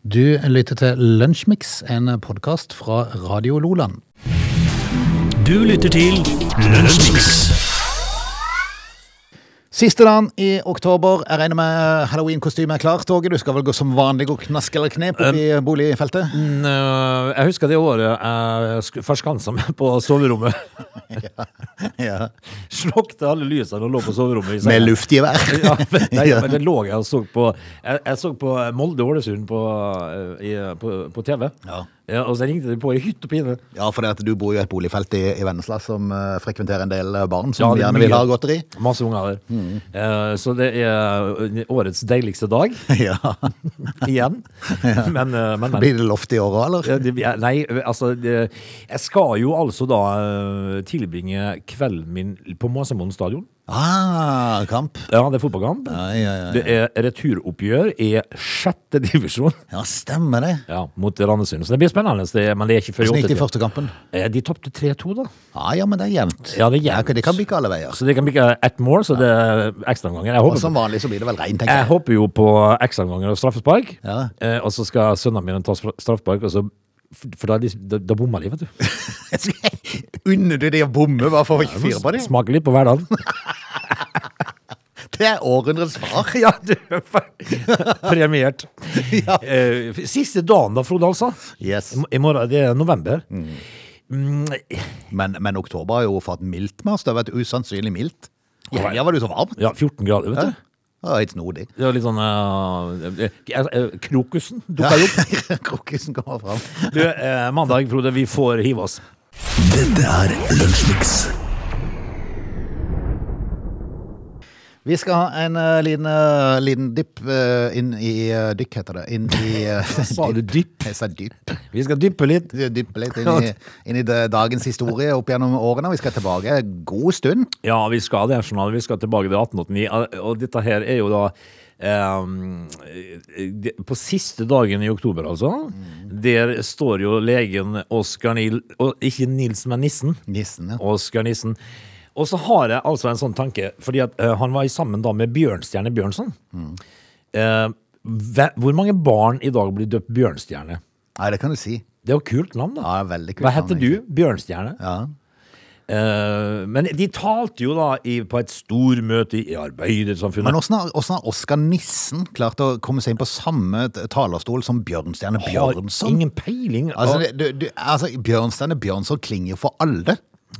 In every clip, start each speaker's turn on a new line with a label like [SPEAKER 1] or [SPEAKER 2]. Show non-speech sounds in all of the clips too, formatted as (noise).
[SPEAKER 1] Du lytter til Lunsjmix, en podkast fra Radio Loland.
[SPEAKER 2] Du lytter til Lunsjmix.
[SPEAKER 1] Siste dagen i oktober. Jeg regner med halloweenkostymet er klart, Åge. Du skal vel gå som vanlig og knaske eller knep opp i boligfeltet?
[SPEAKER 2] eh, Jeg husker det året jeg sk- forskansa meg på soverommet.
[SPEAKER 1] (laughs)
[SPEAKER 2] (laughs)
[SPEAKER 1] Ja.
[SPEAKER 2] Slukte alle lysene og lå på soverommet. i senga. (laughs)
[SPEAKER 1] Med luftgevær?
[SPEAKER 2] Ja, men, nei,
[SPEAKER 1] Ja. (laughs)
[SPEAKER 2] men det lå jeg og så på Jeg, jeg så på Molde-Ålesund på, eh, i- på, på TV.
[SPEAKER 1] Ja.
[SPEAKER 2] og så ringte de på i hytt og pine.
[SPEAKER 1] Ja, for det at du bor jo i et boligfelt i, i Vennesla som eh, frekventerer en del eh, barn
[SPEAKER 2] Ja,
[SPEAKER 1] som
[SPEAKER 2] det er
[SPEAKER 1] gjerne
[SPEAKER 2] mye.
[SPEAKER 1] vil ha godteri. (laughs)
[SPEAKER 2] Masse unger der.
[SPEAKER 1] Mm.
[SPEAKER 2] Eh, så det er eh, årets deiligste dag
[SPEAKER 1] Ja. (laughs)
[SPEAKER 2] igjen. Men, eh, men, men.
[SPEAKER 1] Blir det loft i år òg, eller?
[SPEAKER 2] Ja, det, ja, nei, altså det, Jeg skal jo altså da eh, tilbringe kvelden min på Måsemoen stadion.
[SPEAKER 1] Ah, kamp.
[SPEAKER 2] Ja, det er fotballkamp.
[SPEAKER 1] Ja, ja, ja.
[SPEAKER 2] Det er returoppgjør i sjette divisjon
[SPEAKER 1] ja stemmer det.
[SPEAKER 2] ja, mot Randesund. Så det blir spennende, det, men det er ikke før i
[SPEAKER 1] Hvordan gikk det i
[SPEAKER 2] åttetida.
[SPEAKER 1] første kampen? Ah,
[SPEAKER 2] Eh, De tapte 3-2, da.
[SPEAKER 1] Ja, ja, men det er jevnt.
[SPEAKER 2] Ja, det er jevnt.
[SPEAKER 1] Ja, det kan bikke alle veier.
[SPEAKER 2] Så det kan bli ikke ett mål, så det er ekstraomganger. Jeg
[SPEAKER 1] Og
[SPEAKER 2] håper
[SPEAKER 1] som vanlig så blir det vel rein,
[SPEAKER 2] jeg
[SPEAKER 1] tenker jeg.
[SPEAKER 2] håper jo på ekstraomganger og straffespark.
[SPEAKER 1] Ja.
[SPEAKER 2] Eh, og så skal sønnen min ta stra- straffespark, og så For da, er de- da, da bommer de,
[SPEAKER 1] (laughs)
[SPEAKER 2] vet du.
[SPEAKER 1] Unner du de å bomme bare for å ikke fyre på dem?
[SPEAKER 2] Smaker litt
[SPEAKER 1] (laughs)
[SPEAKER 2] på hverdagen.
[SPEAKER 1] Det er århundrets
[SPEAKER 2] (laughs)
[SPEAKER 1] svar.
[SPEAKER 2] Ja, du er fer- premiert.
[SPEAKER 1] Ja.
[SPEAKER 2] Eh, siste dagen da, Frode, altså.
[SPEAKER 1] Yes.
[SPEAKER 2] I mo- I morgen det er november. Mm,
[SPEAKER 1] Men, men oktober har jo fått mildt med oss. Det har vært usannsynlig mildt. I
[SPEAKER 2] Alright.
[SPEAKER 1] helga var det jo så varmt.
[SPEAKER 2] ja, 14 grader, vet du.
[SPEAKER 1] Det var helt snodig.
[SPEAKER 2] Det var litt sånn eh, eh, eh, Krokusen dukka jo opp.
[SPEAKER 1] (laughs) Krokusen kommer fram.
[SPEAKER 2] Du, eh, mandag, Frode, vi får hive oss.
[SPEAKER 3] Dette er Lunsjmix.
[SPEAKER 1] Vi skal ha en eh, liten, eh, liten dipp eh, inn i eh, Dykk, heter det. Inn i eh,
[SPEAKER 2] (laughs) Sa du dypp?
[SPEAKER 1] Jeg sa dypp.
[SPEAKER 2] Vi skal dyppe litt.
[SPEAKER 1] Dyppe litt inn i, inn i det- dagens historie opp gjennom årene. Vi skal tilbake en god stund.
[SPEAKER 2] Ja, vi skal det. Sånn, vi skal tilbake til 1889. eh, Og dette her er jo da eh, det- På siste dagen i oktober, altså. Der står jo legen Oskar Nil... og Ikke Nils, men Nissen.
[SPEAKER 1] Nissen, ja.
[SPEAKER 2] Oskar Nissen. Og så har jeg altså en sånn tanke, fordi at eh, han var i sammen da med Bjørnstjerne Bjørnson. Eh, hve- hvor mange barn i dag blir døpt Bjørnstjerne?
[SPEAKER 1] Nei, det kan du si.
[SPEAKER 2] Det er jo kult navn, da.
[SPEAKER 1] Ja, det er veldig kult
[SPEAKER 2] Hva
[SPEAKER 1] navn,
[SPEAKER 2] heter du? Bjørnstjerne?
[SPEAKER 1] Ja.
[SPEAKER 2] Eh, men de talte jo da i, på et stormøte i
[SPEAKER 1] Men
[SPEAKER 2] Arbeidersamfunnet.
[SPEAKER 1] åssen har, hvordan har Oskar Nissen klart å komme seg inn på samme t- talerstol som Bjørnstjerne
[SPEAKER 2] Har
[SPEAKER 1] Bjørnson?
[SPEAKER 2] ingen peiling.
[SPEAKER 1] Altså,
[SPEAKER 2] av-
[SPEAKER 1] det, du, du, altså Bjørnstjerne Bjørnson klinger jo for alle.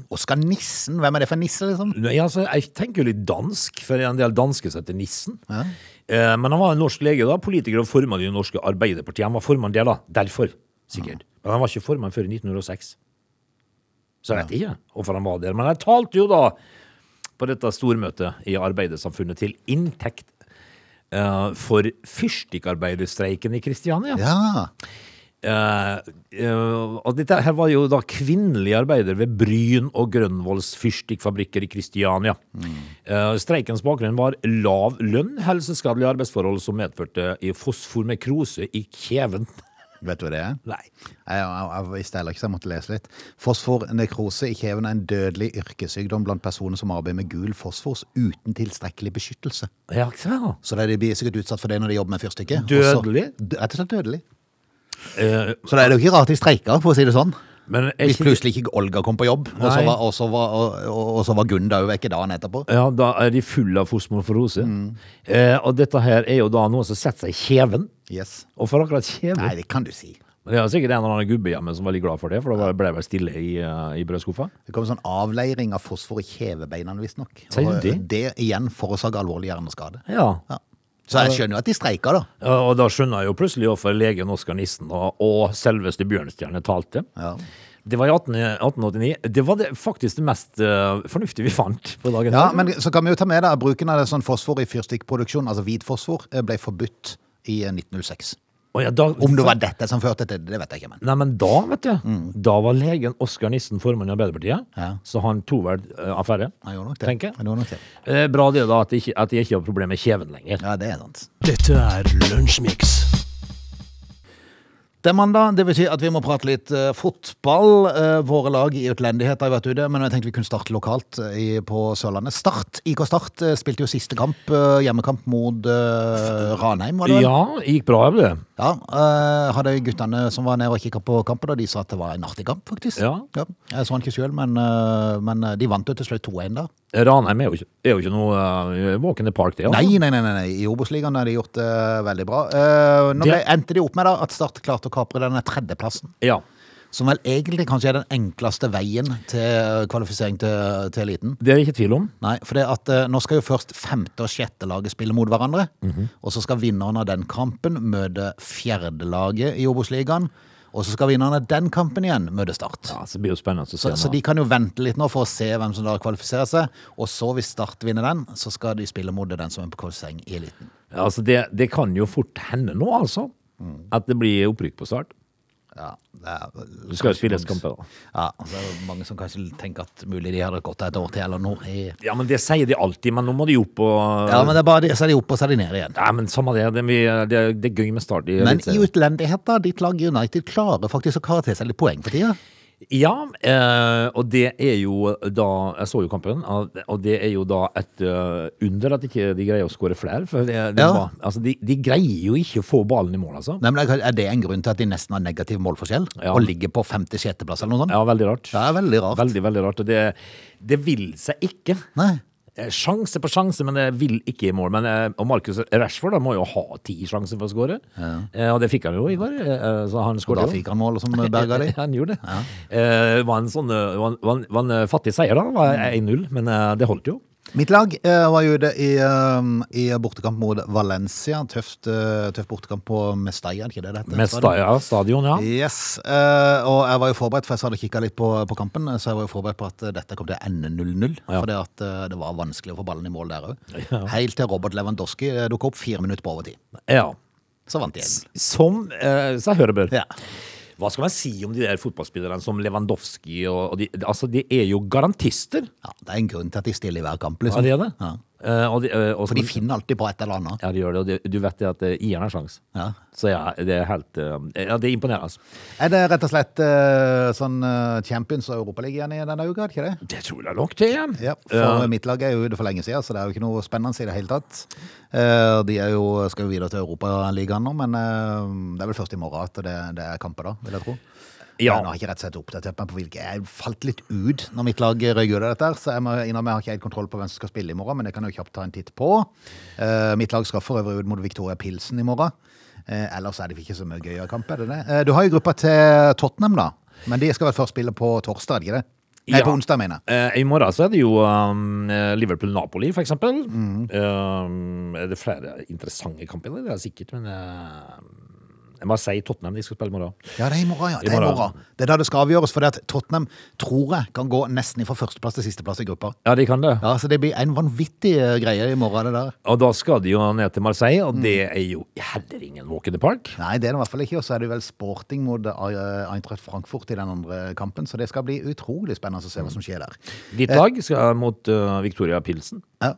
[SPEAKER 1] Oskar Nissen, hvem er det for en nisse, liksom?
[SPEAKER 2] Nei, altså, jeg tenker jo litt dansk, for det er en del danske som heter Nissen. Eh, men han var en norsk lege, da, politiker og formann i det norske Arbeiderpartiet. Han var formann der, da. Derfor, sikkert. Men han var ikke formann før i 1906. Så jeg vet ikke hvorfor han var der. Men jeg talte jo da på dette stormøtet i Arbeidersamfunnet til inntekt eh, for fyrstikkarbeiderstreiken i Kristiania.
[SPEAKER 1] Ja.
[SPEAKER 2] Eh, eh, og dette her var jo da kvinnelige arbeidere ved Bryn og Grønvolls fyrstikkfabrikker i Kristiania. Eh, streikens bakgrunn var lav lønn, helseskadelige arbeidsforhold som medførte i fosfor med krose i kjeven. (laughs)
[SPEAKER 1] Vet du hva det er?
[SPEAKER 2] Nei.
[SPEAKER 1] Jeg, jeg, jeg visste heller ikke, så jeg måtte lese litt. Fosfornekrose i kjeven er en dødelig yrkessykdom blant personer som arbeider med gul fosfors uten tilstrekkelig beskyttelse.
[SPEAKER 2] Ja, ikke sant?
[SPEAKER 1] Så det er de blir sikkert utsatt for det når de jobber med fyrstikker.
[SPEAKER 2] Dødelig?
[SPEAKER 1] Og så- Dø- Rett og slett dødelig.
[SPEAKER 2] Eh,
[SPEAKER 1] Så det er jo ikke rart de streiker, for å si det sånn.
[SPEAKER 2] men er
[SPEAKER 1] Hvis
[SPEAKER 2] ikke-
[SPEAKER 1] plutselig ikke Olga kom på jobb, og så
[SPEAKER 2] Nei.
[SPEAKER 1] var, og så var, og, og, og så var Gunn død vekk dagen etterpå.
[SPEAKER 2] Ja, da er de fulle av fosmorforose. Eh, og dette her er jo da noen som setter seg i kjeven.
[SPEAKER 1] Yes.
[SPEAKER 2] Og for akkurat kjeven
[SPEAKER 1] Nei, det kan du si.
[SPEAKER 2] Men Det er sikkert en eller annen gubbe hjemme som var veldig glad for det, for da ble det vel stille i, eh, i brødskuffa.
[SPEAKER 1] Det kom en sånn avleiring av fosfor i kjevebeina, visstnok.
[SPEAKER 2] Sier du
[SPEAKER 1] Og
[SPEAKER 2] det?
[SPEAKER 1] Det igjen forårsaker alvorlig hjerneskade.
[SPEAKER 2] Ja.
[SPEAKER 1] Ja. Så jeg skjønner jo at de streiker, da.
[SPEAKER 2] Ja, Og da skjønner jeg jo plutselig hvorfor legen Oskar Nissen og, og selveste Bjørnstjerne talte.
[SPEAKER 1] Ja.
[SPEAKER 2] Det var i 18, 1889. Det var det, faktisk det mest eh, fornuftige vi fant på dagen.
[SPEAKER 1] Ja, men så kan vi jo ta med da, bruken av det sånn fosfor i fyrstikkproduksjon, altså hvit fosfor, eh, ble forbudt i eh, 1906.
[SPEAKER 2] Og ja, da,
[SPEAKER 1] Om det var dette som førte til det, det vet jeg ikke, men.
[SPEAKER 2] Nei, men da, vet du. Da var legen Oskar Nissen formann i Arbeiderpartiet,
[SPEAKER 1] Ja.
[SPEAKER 2] så han tok vel eh, affære.
[SPEAKER 1] Han gjorde nok det.
[SPEAKER 2] Tenker jeg.
[SPEAKER 1] Han gjorde nok det.
[SPEAKER 2] Eh, bra det, da, at de ikke, at de ikke har problemer med kjeven lenger.
[SPEAKER 1] Ja, det er sant.
[SPEAKER 3] Dette er Lunsjmix.
[SPEAKER 1] Det er mandag, det betyr at vi må prate litt eh, fotball. Eh, våre lag i utlendighet har jo vært ute, men jeg tenkte vi kunne starte lokalt eh, i, på Sørlandet. Start, IK Start, eh, spilte jo siste kamp, eh, hjemmekamp mot eh, Ranheim, var det vel?
[SPEAKER 2] Ja, det gikk bra, ble det.
[SPEAKER 1] Ja, eh, hadde guttene som var nede og kikket på kampen, og de sa at det var en artig kamp, faktisk.
[SPEAKER 2] Ja.
[SPEAKER 1] Jeg så han ikke selv, men, eh, men eh, de vant jo til slutt 2-1 da.
[SPEAKER 2] Ranheim er jo ikke, er jo ikke noe eh, walk in the park, det. altså.
[SPEAKER 1] Nei, nei, nei, nei, nei. i Obos-ligaen har de gjort det veldig bra. Eh, nå
[SPEAKER 2] Det-
[SPEAKER 1] ble, endte de opp med da, at Start klarte å kapre denne tredjeplassen,
[SPEAKER 2] Ja.
[SPEAKER 1] som vel egentlig kanskje er den enkleste veien til eh, kvalifisering til, til eliten.
[SPEAKER 2] Det er det ikke tvil om.
[SPEAKER 1] Nei, for det at eh, nå skal jo først femte og sjette laget spille mot hverandre,
[SPEAKER 2] Mhm.
[SPEAKER 1] og så skal vinneren av den kampen møte fjerde laget i Obos-ligaen, og så skal vinneren av den kampen igjen møte Start.
[SPEAKER 2] Ja, så det blir jo spennende å se.
[SPEAKER 1] Så, så
[SPEAKER 2] nå.
[SPEAKER 1] de kan jo vente litt nå for å se hvem som da kvalifiserer seg, og så hvis Start vinner den, så skal de spille mot den som er på kvalifisering i eliten.
[SPEAKER 2] Ja, altså, det, det kan jo fort hende nå, altså. At det blir opprykk på start.
[SPEAKER 1] Ja, Mm. det er,
[SPEAKER 2] Det skal jo spilles kamper, da.
[SPEAKER 1] Ja, så er det mange som kanskje tenker at mulig de hadde gått et år til eller noe. i-
[SPEAKER 2] Ja, men det sier de alltid, men nå må de opp og
[SPEAKER 1] Ja, men det er bare, de- så er de oppe og så er de ned igjen.
[SPEAKER 2] Nei, men samme det. Det, vi, det, det er gøy med start. i
[SPEAKER 1] Men i
[SPEAKER 2] Eliteserien.
[SPEAKER 1] utlendighet, da. Ditt lag United klarer faktisk å karre til seg litt poeng for tida.
[SPEAKER 2] Ja, eh, og det er jo da Jeg så jo kampen, og og det er jo da et eh, under at ikke de greier å skåre flere. For det, det
[SPEAKER 1] Ja.
[SPEAKER 2] var, altså, de, de greier jo ikke å få ballen i mål, altså.
[SPEAKER 1] Nei, men Er det en grunn til at de nesten har negativ målforskjell?
[SPEAKER 2] Ja.
[SPEAKER 1] Og ligger på femte-sjetteplass eller noe sånt?
[SPEAKER 2] Ja, veldig rart.
[SPEAKER 1] Det er veldig rart.
[SPEAKER 2] Veldig, veldig rart. Og det, det vil seg ikke.
[SPEAKER 1] Nei.
[SPEAKER 2] Eh, Sjanse på sjanse, men det vil ikke i mål. Men, eh, og Marcus Rashford da, må jo ha ti sjanser for å skåre, eh, og det fikk han jo i går. Eh, så
[SPEAKER 1] Og
[SPEAKER 2] han
[SPEAKER 1] da
[SPEAKER 2] skåret jo.
[SPEAKER 1] fikk han målet
[SPEAKER 2] (laughs)
[SPEAKER 1] som berga de.
[SPEAKER 2] Han gjorde det. Eh, var en sånn, eh, var en, var en, var en eh, fattig seier, da. Var
[SPEAKER 1] Mm.
[SPEAKER 2] 1-0, men eh, det holdt jo.
[SPEAKER 1] Mitt lag eh, var jo ute i, eh, i bortekamp mot Valencia. Tøft, eh, tøff bortekamp på Mestalla, er det ikke det det heter?
[SPEAKER 2] Med Staya stadion, ja.
[SPEAKER 1] Yes, eh, og jeg var jo forberedt, for jeg så hadde kikka litt på, på kampen, så jeg var jo forberedt på at eh, dette kom til å ende 0-0.
[SPEAKER 2] Ja.
[SPEAKER 1] For at eh, det var vanskelig å få ballen i mål der òg.
[SPEAKER 2] (laughs)
[SPEAKER 1] Helt til Robert Lewandowski eh, dukka opp fire minutter på overtid.
[SPEAKER 2] ja.
[SPEAKER 1] Så vant de igjen.
[SPEAKER 2] Som eh, seg høre bør.
[SPEAKER 1] Ja.
[SPEAKER 2] Hva skal man si om de der fotballspillerne som Lewandowski og, og de, Altså, de er jo garantister.
[SPEAKER 1] ja, Det er en grunn til at de stiller i hver kamp,
[SPEAKER 2] Ja,
[SPEAKER 1] liksom.
[SPEAKER 2] de er det.
[SPEAKER 1] Ja.
[SPEAKER 2] Eh, og de, eh, og
[SPEAKER 1] For de
[SPEAKER 2] som-
[SPEAKER 1] finner alltid på et eller annet.
[SPEAKER 2] Ja, de gjør det, og det, du vet det at eh, ieren har sjans.
[SPEAKER 1] Ja.
[SPEAKER 2] Så ja, det er helt eh, Ja, det er imponerende.
[SPEAKER 1] Er det rett og slett eh, sånn eh, Champions og Europaliga igjen i denne uka, er det ikke det?
[SPEAKER 2] Det tror jeg nok Eh, det er.
[SPEAKER 1] Ja, for mitt lag er jo ute for lenge siden, så det er jo ikke noe spennende i det hele tatt. Eh, De er jo, skal jo videre til Europaligaen nå, men eh, det er vel først i morgen at det, det er kamper da, vil jeg tro.
[SPEAKER 2] Ja.
[SPEAKER 1] Men Jeg har ikke rett og slett oppdatert meg på hvilke. Jeg falt litt ut når mitt lag røyk ut av dette, her, så jeg må innrømme jeg har ikke helt kontroll på hvem som skal spille i morgen, men det kan jeg jo kjapt ta en titt på. Eh, Mitt lag skal for øvrig ut mot Victoria Pilsen i morgen. Eh, Ellers er det ikke så mye gøyere kamp, er det det? Eh, Du har jo gruppa til Tottenham da, men de skal vel først spille på torsdag, er det ikke det? Nei,
[SPEAKER 2] Ja.
[SPEAKER 1] på onsdag, mener jeg.
[SPEAKER 2] Eh, I morgen så er det jo um, eh, Liverpool-Napoli, for eksempel.
[SPEAKER 1] Mm.
[SPEAKER 2] Um, er det flere interessante kamper? Det er sikkert, men eh, jeg må si Tottenham de skal spille i morgen.
[SPEAKER 1] Ja, det er i morgen, ja.
[SPEAKER 2] I
[SPEAKER 1] Det er, i
[SPEAKER 2] morgen.
[SPEAKER 1] morgen. det er da det skal avgjøres, for det at Tottenham tror jeg kan gå nesten fra førsteplass til sisteplass i gruppa.
[SPEAKER 2] Ja, de kan det.
[SPEAKER 1] Ja, Så det blir en vanvittig eh, greie i morgen, det der.
[SPEAKER 2] Og da skal de jo ned til Marseille, og det
[SPEAKER 1] Mm.
[SPEAKER 2] er jo heller ingen walk in the park.
[SPEAKER 1] Nei, det er det i hvert fall ikke. Og så er det vel sporting mot eh, Eintracht Frankfurt i den andre kampen, så det skal bli utrolig spennende å se hva som skjer der.
[SPEAKER 2] Ditt lag skal mot eh, Victoria Pilsen.
[SPEAKER 1] Ja.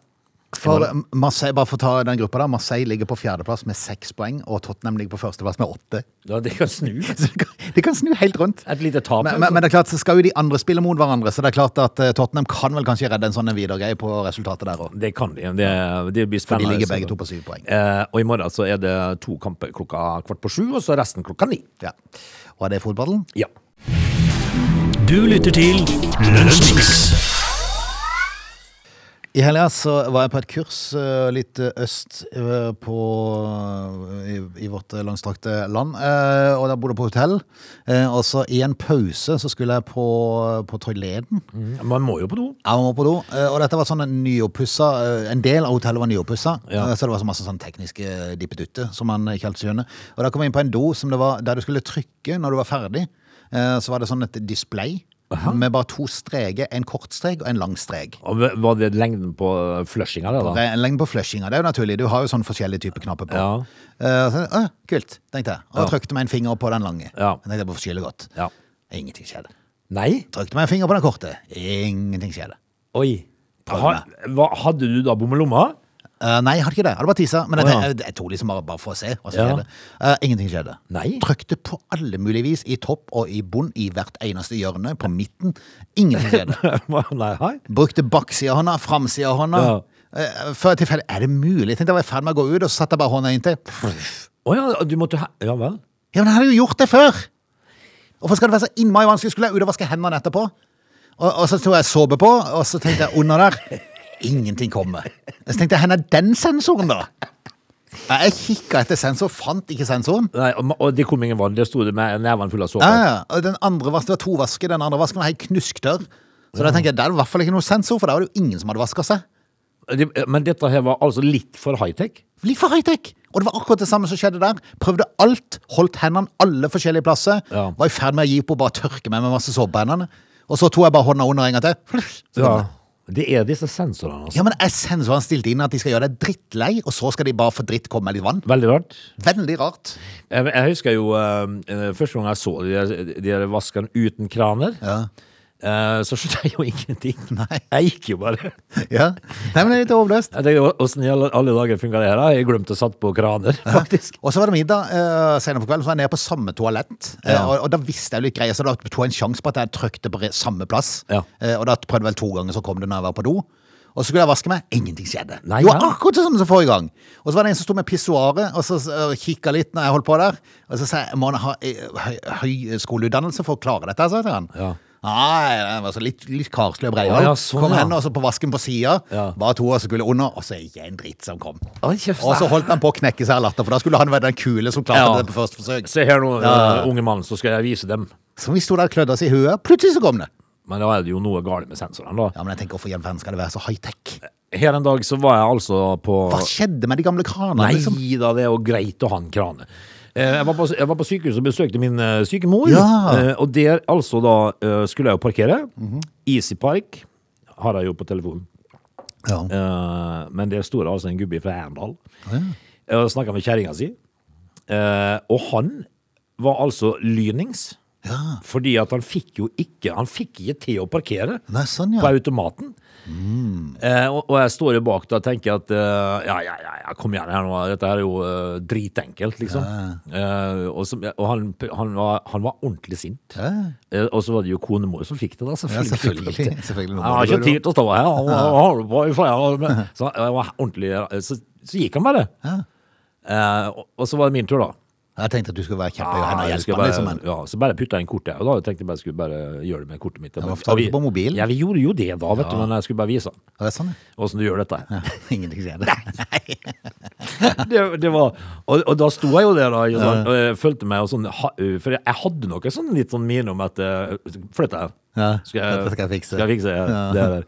[SPEAKER 1] For eh, Marseille, bare for å ta den gruppa der, Marseille ligger på fjerdeplass med seks poeng, og Tottenham ligger på førsteplass med åtte. (laughs)
[SPEAKER 2] Ja, det kan snu.
[SPEAKER 1] Så det kan, det kan snu helt rundt.
[SPEAKER 2] Et lite tap.
[SPEAKER 1] Men, men, men det er klart, så skal jo de andre spille mot hverandre, så det er klart at eh, Tottenham kan vel kanskje redde en sånn en videre greie på resultatet der òg.
[SPEAKER 2] Det kan de. Det, det blir
[SPEAKER 1] For de
[SPEAKER 2] spennende.
[SPEAKER 1] ligger begge to på syv poeng.
[SPEAKER 2] Eh, og i morgen så er det to kamper klokka kvart på sju, og så resten klokka ni.
[SPEAKER 1] Ja. Og er det fotballen?
[SPEAKER 2] Ja.
[SPEAKER 3] Du lytter til Lunsjmix.
[SPEAKER 1] I helga så var jeg på et kurs eh, litt eh, øst eh, på, i, i vårt eh, langstrakte land. eh, og der bodde jeg på hotell. Eh, og så i en pause så skulle jeg på, på toileten.
[SPEAKER 2] Man må jo på do.
[SPEAKER 1] Jeg må på do. eh, og dette var sånn en nyoppussa eh, En del av hotellet var nyoppussa,
[SPEAKER 2] Ja.
[SPEAKER 1] eh, så det var så masse sånn tekniske dippedutter som man ikke helt skjønner. Og da kom jeg inn på en do som det var, der du skulle trykke når du var ferdig. eh, så var det sånn et display med bare to streker. En kort strek og en lang strek.
[SPEAKER 2] Og v- Var det lengden på flushinga, det, da?
[SPEAKER 1] Det er en lengde på flushinga, det er jo naturlig. Du har jo sånn forskjellige typer knapper på.
[SPEAKER 2] Ja.
[SPEAKER 1] Eh, så, «Å, kult, tenkte jeg. Og
[SPEAKER 2] Ja.
[SPEAKER 1] trykte meg en finger på den lange.
[SPEAKER 2] Ja.
[SPEAKER 1] Jeg tenkte på forskjellig godt.
[SPEAKER 2] Ja.
[SPEAKER 1] Ingenting skjedde.
[SPEAKER 2] Nei?
[SPEAKER 1] Trykte meg en finger på den korte. Ingenting skjedde.
[SPEAKER 2] Oi. Ha, hva, hadde du da bommelomma?
[SPEAKER 1] Eh, nei, jeg hadde ikke det. Jeg hadde bare tisa. Men jeg,
[SPEAKER 2] Å, ja.
[SPEAKER 1] tenkte- jeg tok liksom bare, bare for å se hva som
[SPEAKER 2] Ja.
[SPEAKER 1] skjedde. Eh, ingenting skjedde.
[SPEAKER 2] Nei.
[SPEAKER 1] Trykte på alle mulige vis, i topp og i bunn, i hvert eneste hjørne, på midten. Ingenting
[SPEAKER 2] (laughs)
[SPEAKER 1] skjedde.
[SPEAKER 2] (laughs) Nei, hei.
[SPEAKER 1] Brukte baksida av hånda, framsida av hånda.
[SPEAKER 2] Ja.
[SPEAKER 1] Eh, før tilfellet Er det mulig? Jeg tenkte jeg var i ferd med å gå ut, og så satte jeg bare hånda inntil.
[SPEAKER 2] Å ja, du måtte he- Ja vel.
[SPEAKER 1] Ja, men jeg hadde jo gjort det før! Hvorfor skal det være så innmari vanskelig? Skulle jeg ut og vaske hendene etterpå? Og, og så tok jeg såpe på, og så tenkte jeg under der Ingenting kommer. Så tenkte jeg, hvor er den sensoren, da? Ja, Jeg kikka etter sensor, fant ikke sensoren.
[SPEAKER 2] Nei, og, ma- og det kom ingen vann. Der sto det med nevene fulle av såpe.
[SPEAKER 1] Ja, ja. Og den andre vasken, det var to vasker, den andre vasken var helt knusktørr. Så da tenkte jeg, der er det i hvert fall ikke noe sensor, for der var det jo ingen som hadde vaska seg.
[SPEAKER 2] Det- Men dette her var altså litt for high-tech.
[SPEAKER 1] Litt for high-tech. Og det var akkurat det samme som skjedde der. Prøvde alt, holdt hendene alle forskjellige plasser.
[SPEAKER 2] Ja.
[SPEAKER 1] Var i ferd med å gi opp og bare tørke meg med masse såpe på hendene. Og så tok jeg bare hånda under en gang til. Så kom det.
[SPEAKER 2] Det er disse sensorene, altså.
[SPEAKER 1] Ja, men jeg sender sånn stilt inn at de skal gjøre deg drittlei, og så skal de bare for dritt komme med litt vann.
[SPEAKER 2] Veldig rart.
[SPEAKER 1] Veldig rart.
[SPEAKER 2] Jeg, jeg husker jo eh, eh, første gang jeg så de, der- de der vaskene uten kraner. eh, så skjønte jeg jo (laughs) ingenting.
[SPEAKER 1] Nei.
[SPEAKER 2] Jeg gikk jo bare.
[SPEAKER 1] Ja. Nei, men det er litt overløst.
[SPEAKER 2] Jeg tenkte, Åssen i alle, alle dager funka det her? da? Jeg glemte å satt på kraner, faktisk.
[SPEAKER 1] Og så var det middag eh, senere på kvelden, så var jeg nede på samme toalett. Eh,
[SPEAKER 2] Ja.
[SPEAKER 1] og, og da visste jeg litt greier, så da tok jeg en sjanse på at jeg trykte på re- samme plass.
[SPEAKER 2] Ja.
[SPEAKER 1] Eh, og da prøvde jeg vel to ganger, så kom det når jeg var på do. Og så skulle jeg vaske meg. Ingenting skjedde.
[SPEAKER 2] Nei,
[SPEAKER 1] jo,
[SPEAKER 2] ja.
[SPEAKER 1] akkurat sånn som forrige gang. Og så var det en som sto med pissoaret og så uh, kikka litt når jeg holdt på der. Og så sa jeg må han ha eh, høy, høy skoleutdannelse for å klare dette, sa jeg til han.
[SPEAKER 2] Ja.
[SPEAKER 1] Nei, det var så litt, litt karslig og
[SPEAKER 2] Å,
[SPEAKER 1] breial.
[SPEAKER 2] ja, sånn,
[SPEAKER 1] kom
[SPEAKER 2] ja.
[SPEAKER 1] hen og så på vasken på sida.
[SPEAKER 2] Ja.
[SPEAKER 1] Bare to, og så skulle under, og så ikke en dritt som kom.
[SPEAKER 2] Oi, kjeft.
[SPEAKER 1] Og så holdt han på å knekke seg av latter, for da skulle han være den kule som klarte
[SPEAKER 2] Ja.
[SPEAKER 1] det på første forsøk.
[SPEAKER 2] Se her nå, eh, unge mann, så skal jeg vise dem.
[SPEAKER 1] Så vi sto der og klødde oss i huet, plutselig så kom det.
[SPEAKER 2] Men da er det jo noe galt med sensorene, da.
[SPEAKER 1] Ja, men jeg tenker, hvorfor i all verden skal det være så high-tech?
[SPEAKER 2] Her en dag så var jeg altså på
[SPEAKER 1] Hva skjedde med de gamle kranene?
[SPEAKER 2] Nei
[SPEAKER 1] Liksom?
[SPEAKER 2] da, det er jo greit å ha en krane. Eh, Jeg var, på, jeg var på sykehus og besøkte min eh, syke mor.
[SPEAKER 1] Ja.
[SPEAKER 2] eh, Og der altså da eh, skulle jeg jo parkere. Easy Park har jeg jo på telefonen.
[SPEAKER 1] Ja.
[SPEAKER 2] Eh, Men der sto det altså en gubbe fra Erndal eh, og snakka med kjerringa si. Eh, Og han var altså lynings. Fordi at han fikk jo ikke Han fikk ikke til å parkere
[SPEAKER 1] Nei, sånn,
[SPEAKER 2] på
[SPEAKER 1] ja.
[SPEAKER 2] automaten. Eh, og, og jeg står jo bak da og tenker at eh, ja, ja, ja, ja, kom igjen her nå. Dette her er jo eh, dritenkelt, liksom. Eh, og så, og han, han, var, han var ordentlig sint.
[SPEAKER 1] Ja.
[SPEAKER 2] Eh, og så var det jo konemor som fikk det, da.
[SPEAKER 1] Ja,
[SPEAKER 2] Selvfølgelig.
[SPEAKER 1] selvfølgelig. Selvfølgelig.
[SPEAKER 2] (laughs) Jeg har ikke tid til å stå her. Han, han holder på i flere år.
[SPEAKER 1] (laughs)
[SPEAKER 2] men- Så, han var ordentlig, eh, så, så gikk han bare. Eh, og, og så var det min tur, da.
[SPEAKER 1] Jeg tenkte at du skulle være kjempehøy og
[SPEAKER 2] Ja, Ah, jeg
[SPEAKER 1] hjelpe
[SPEAKER 2] skulle
[SPEAKER 1] han,
[SPEAKER 2] bare,
[SPEAKER 1] liksom. Men
[SPEAKER 2] ja, så bare putta jeg inn kortet. Og da tenkte jeg bare jeg skulle bare gjøre det med kortet mitt.
[SPEAKER 1] hvorfor tar du ikke på mobilen?
[SPEAKER 2] Ja, vi gjorde jo det da, vet du, men jeg skulle bare vise han
[SPEAKER 1] Ja, (laughs) det er sånn, ja.
[SPEAKER 2] åssen du gjør dette.
[SPEAKER 1] Ingenting skjedde. Nei.
[SPEAKER 2] Det, det var, og, og da sto jeg jo der da, ikke sant, og jeg følte meg jo sånn ha- For jeg hadde noe sånn litt sånn minne om at eh, Flytt deg.
[SPEAKER 1] Ja, dette skal jeg fikse.
[SPEAKER 2] Skal jeg fikse det der.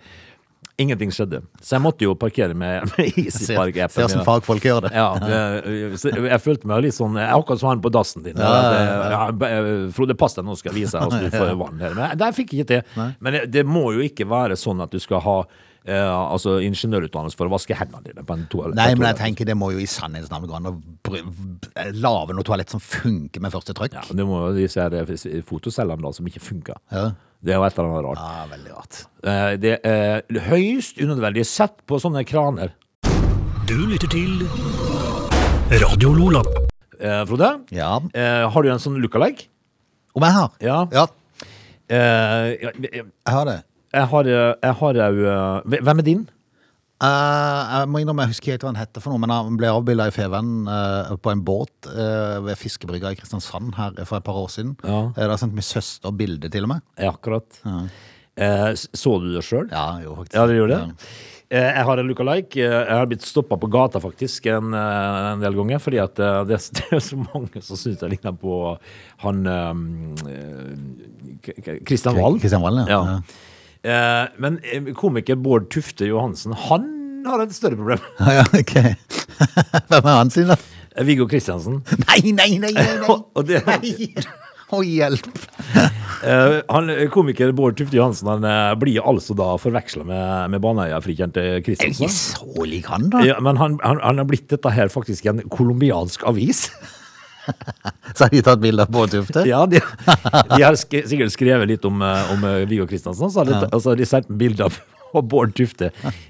[SPEAKER 2] Ingenting skjedde. Så jeg måtte jo parkere med, (laughs) med
[SPEAKER 1] Se se
[SPEAKER 2] Easypark-appen.
[SPEAKER 1] hvordan fagfolk gjør det.
[SPEAKER 2] Ja, det, så jeg følte meg litt sånn jeg er Akkurat som han på dassen din. At, eh, ja, Frode, pass deg, nå skal jeg vise deg hvordan
[SPEAKER 1] (laughs)
[SPEAKER 2] du får vann her. Men der fikk jeg ikke til. Men det- det må jo ikke være sånn at du skal ha eh, altså ingeniørutdannelse for å vaske hendene dine på en toalett.
[SPEAKER 1] (laughs) Nei, men jeg tenker det må jo i sannhetens navn gå an å lage noe toalett som funker med første trykk.
[SPEAKER 2] Ja, men det må jo disse her eh, fotocellene da, som ikke funker.
[SPEAKER 1] Ja.
[SPEAKER 2] Det er jo et eller annet rart.
[SPEAKER 1] Ja, veldig rart.
[SPEAKER 2] Eh, Det er høyst unødvendig. Sett på sånne kraner,
[SPEAKER 3] Du lytter til Radio Lola.
[SPEAKER 2] eh, Frode.
[SPEAKER 1] Ja.
[SPEAKER 2] Eh, Har du en sånn lookalike?
[SPEAKER 1] Om jeg har?
[SPEAKER 2] Ja.
[SPEAKER 1] ja.
[SPEAKER 2] Eh, Jeg
[SPEAKER 1] Jeg har det.
[SPEAKER 2] jeg har eh, jeg har jo eh, Hvem er din?
[SPEAKER 1] Eh, jeg må innrømme, jeg husker ikke helt hva han hette for noe, men han ble avbilda i Feven eh, på en båt eh, ved fiskebrygga i Kristiansand her for et par år siden.
[SPEAKER 2] Ja.
[SPEAKER 1] Eh, da sendte min søster bilde til og med.
[SPEAKER 2] Ja, akkurat. Eh, s- så du det sjøl?
[SPEAKER 1] Ja, jo, faktisk.
[SPEAKER 2] Ja, det gjorde det. Eh, Jeg har en lookalike. Eh, Jeg har blitt stoppa på gata faktisk en, eh, en del ganger, fordi at eh, (laughs) det, er- det er så mange som syns jeg ligner på han eh, K- K- Kristian Valen.
[SPEAKER 1] Kristian Valen, ja.
[SPEAKER 2] Ja. Eh, Men eh, komiker Bård Tufte Johansen, han har et større problem. (laughs)
[SPEAKER 1] Ja, ja, ok. (laughs) Hvem er han sin, da?
[SPEAKER 2] Eh, Viggo Kristiansen.
[SPEAKER 1] Nei, nei, nei! nei, nei.
[SPEAKER 2] (laughs) Og- og det-
[SPEAKER 1] nei. Å, hjelp!
[SPEAKER 2] Eh, han, komiker Bård Tufte Johansen han eh, blir altså da forveksla med, med Baneheia-frikjente
[SPEAKER 1] Er du
[SPEAKER 2] Kristiansen.
[SPEAKER 1] ikke så lik han, da?
[SPEAKER 2] Ja, men han, han, han har blitt dette her faktisk i en kolumbiansk
[SPEAKER 1] (laughs)
[SPEAKER 2] avis.
[SPEAKER 1] Så har de tatt bilder på Tufte?
[SPEAKER 2] Ja, de, de har sk sikkert skrevet litt om, eh, om eh, Viggo Kristiansen, og så har de, og så har de altså, sendt bilder av (laughs) og Bård Tufte.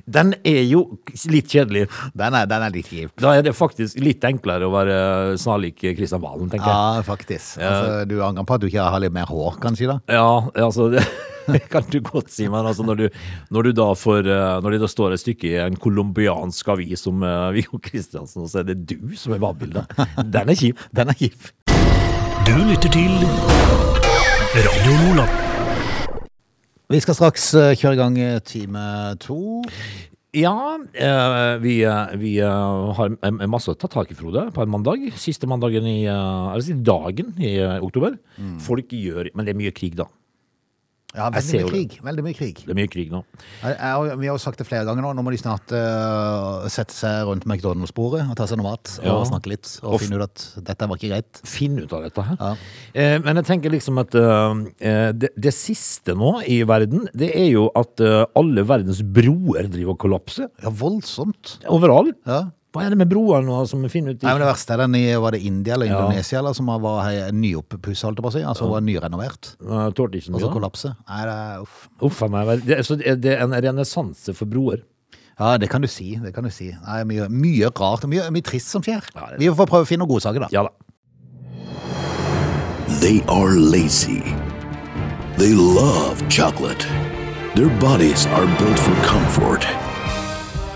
[SPEAKER 2] Den er jo litt kjedelig.
[SPEAKER 1] Den er, den er litt kjip.
[SPEAKER 2] Da er det faktisk litt enklere å være snarlik Kristian Valen, tenker jeg.
[SPEAKER 1] Ja, faktisk. Altså, du angrer på at du ikke har litt mer hår, kanskje? da?
[SPEAKER 2] Ja, altså det (laughs) kan du godt si, men altså når du, når du da får eh, Når det da står et stykke i en colombiansk avis om eh, Viggo Kristiansen, og så er det du som er babbildet. Den er kjip.
[SPEAKER 1] (laughs) Den er kjip.
[SPEAKER 3] Du lytter til Radio Lola.
[SPEAKER 1] Vi skal straks eh, kjøre i gang eh, time to.
[SPEAKER 2] Ja, eh, vi, eh, vi eh, har en- en masse å ta tak i, Frode, på en mandag. Siste mandagen i eh, Eller siste dagen i eh, oktober.
[SPEAKER 1] Mm.
[SPEAKER 2] Folk gjør Men det er mye krig, da.
[SPEAKER 1] Ja,
[SPEAKER 2] Jeg
[SPEAKER 1] veldig
[SPEAKER 2] ser jo
[SPEAKER 1] mye krig. Veldig mye krig.
[SPEAKER 2] Det er mye krig nå.
[SPEAKER 1] Jeg, jeg, vi har jo sagt det flere ganger nå, nå må de snart eh, sette seg rundt McDonald's-bordet og ta seg noe mat og
[SPEAKER 2] Ja.
[SPEAKER 1] snakke litt og
[SPEAKER 2] Og f-
[SPEAKER 1] finne ut at dette var ikke greit.
[SPEAKER 2] finne ut av dette her.
[SPEAKER 1] Ja.
[SPEAKER 2] Eh, men jeg tenker liksom at eh, eh, det, det siste nå i verden, det er jo at eh, alle verdens broer driver og kollapser.
[SPEAKER 1] Ja, voldsomt.
[SPEAKER 2] Overalt.
[SPEAKER 1] Ja.
[SPEAKER 2] Hva er det med broer nå som vi finner ut i?
[SPEAKER 1] Nei, men Det verste er den i var det India eller
[SPEAKER 2] Ja.
[SPEAKER 1] Indonesia eller, som var he- nyoppussa, holdt jeg på å si. Altså var nyrenovert.
[SPEAKER 2] Eh, Tålte ikke
[SPEAKER 1] Og så
[SPEAKER 2] så mye. da.
[SPEAKER 1] kollapse. Nei, det er uff.
[SPEAKER 2] Uff a meg. vel. Det, så det er- det er en renessanse for broer.
[SPEAKER 1] Ja, det kan du si. Det kan du si. Nei, mye, mye rart og mye, mye trist som skjer.
[SPEAKER 2] Ja, det-
[SPEAKER 1] Vi får prøve å finne noen gode saker, da.
[SPEAKER 2] Ja da.
[SPEAKER 4] They are lazy. They love chocolate. Their bodies are built for comfort.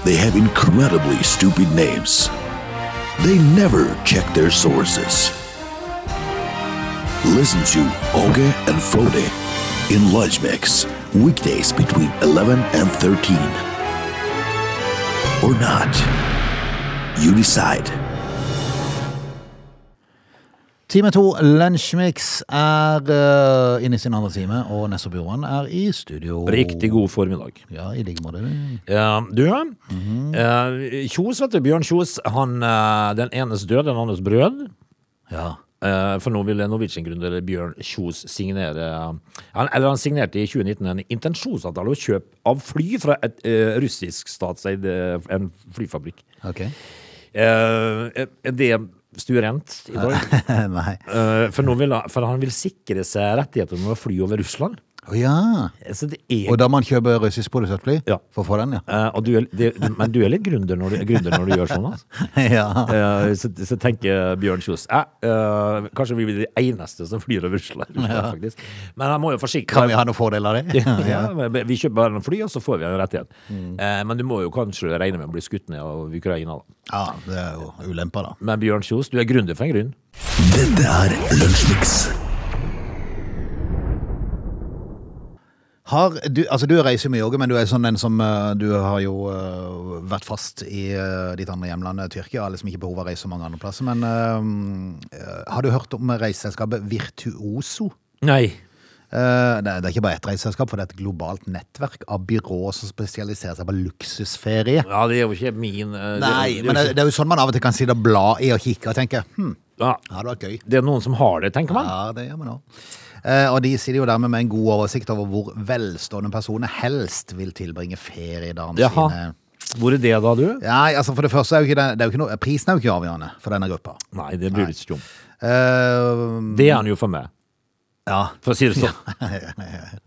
[SPEAKER 4] They have incredibly stupid names. They never check their sources. Listen to Oge and Frode in Lunch Mix, weekdays between 11 and 13. Or not. You decide.
[SPEAKER 1] Time to Lunsjmix er eh, inne i sin andre time, og Nesse Bjørvann er i studio.
[SPEAKER 2] Riktig god formiddag.
[SPEAKER 1] Ja, i like måte. du.
[SPEAKER 2] Eh, du, eh, Kjos, vet du, Bjørn Kjos, han, eh, den enes død, den andres brød.
[SPEAKER 1] Ja.
[SPEAKER 2] Eh, For nå vil Norwegian-gründer Bjørn Kjos signere eh, han, Eller han signerte i 2019 en intensjonsavtale om kjøp av fly fra et eh, russisk statseid eh, en flyfabrikk. (laughs)
[SPEAKER 1] Ok.
[SPEAKER 2] Eh, er det stuerent i dag?
[SPEAKER 1] Nei.
[SPEAKER 2] Eh, for, nå vil han, for han vil sikre seg rettigheter med å fly over Russland.
[SPEAKER 1] Å ja.
[SPEAKER 2] Eh, Så det er
[SPEAKER 1] Og da man kjøper russiskprodusert fly?
[SPEAKER 2] Ja.
[SPEAKER 1] For å få den, ja. (laughs)
[SPEAKER 2] Eh, og du er, det, Men du er litt gründer når du, gründer når du gjør sånn, altså.
[SPEAKER 1] ja.
[SPEAKER 2] Eh, så, så tenker Bjørn Kjos eh, eh, Kanskje vi blir de eneste som flyr over Russland, faktisk. Men han må jo forsikre
[SPEAKER 1] (laughs) Kan vi ha noen fordel av det? (laughs)
[SPEAKER 2] ja, men vi kjøper bare noen fly, og så får vi en rettighet.
[SPEAKER 1] Mm.
[SPEAKER 2] Eh, men du må jo kanskje regne med å bli skutt ned av Ukraina. da.
[SPEAKER 1] ja, det er jo ulemper, da.
[SPEAKER 2] Men Bjørn Kjos, du er gründer for en grunn.
[SPEAKER 4] Dette er Lunsjmix.
[SPEAKER 1] Har du, altså du reiser mye, Åge, men du er sånn den som eh, Du har jo eh, vært fast i eh, ditt andre hjemland, eh, Tyrkia. Har liksom ikke behov for å reise så mange andre plasser. Men eh, eh, har du hørt om reiseselskapet Virtuoso?
[SPEAKER 2] Nei.
[SPEAKER 1] Eh, det, er- det er ikke bare ett reiseselskap, for det er et globalt nettverk av byråer som spesialiserer seg på luksusferie.
[SPEAKER 2] Ja, det er jo ikke min eh, det-
[SPEAKER 1] Nei,
[SPEAKER 2] det,
[SPEAKER 1] men det,
[SPEAKER 2] er jo ikke-
[SPEAKER 1] det er jo sånn man av og til kan sitte og bla i og kikke og tenke hm,
[SPEAKER 2] ja,
[SPEAKER 1] hadde vært gøy.
[SPEAKER 2] det er noen som har det, tenker man.
[SPEAKER 1] Ja, det gjør man òg. Eh, og de sitter jo dermed med en god oversikt over hvor velstående personer helst vil tilbringe feriedagene
[SPEAKER 2] Jaha.
[SPEAKER 1] sine.
[SPEAKER 2] Hvor er det da, du?
[SPEAKER 1] Nei, altså for det første er jo ikke det, det er jo ikke noe, Prisen er jo ikke avgjørende for denne gruppa.
[SPEAKER 2] Nei, det blir litt stum.
[SPEAKER 1] Eh,
[SPEAKER 2] Det er han jo for meg.
[SPEAKER 1] (laughs) ja.
[SPEAKER 2] For å si det sånn.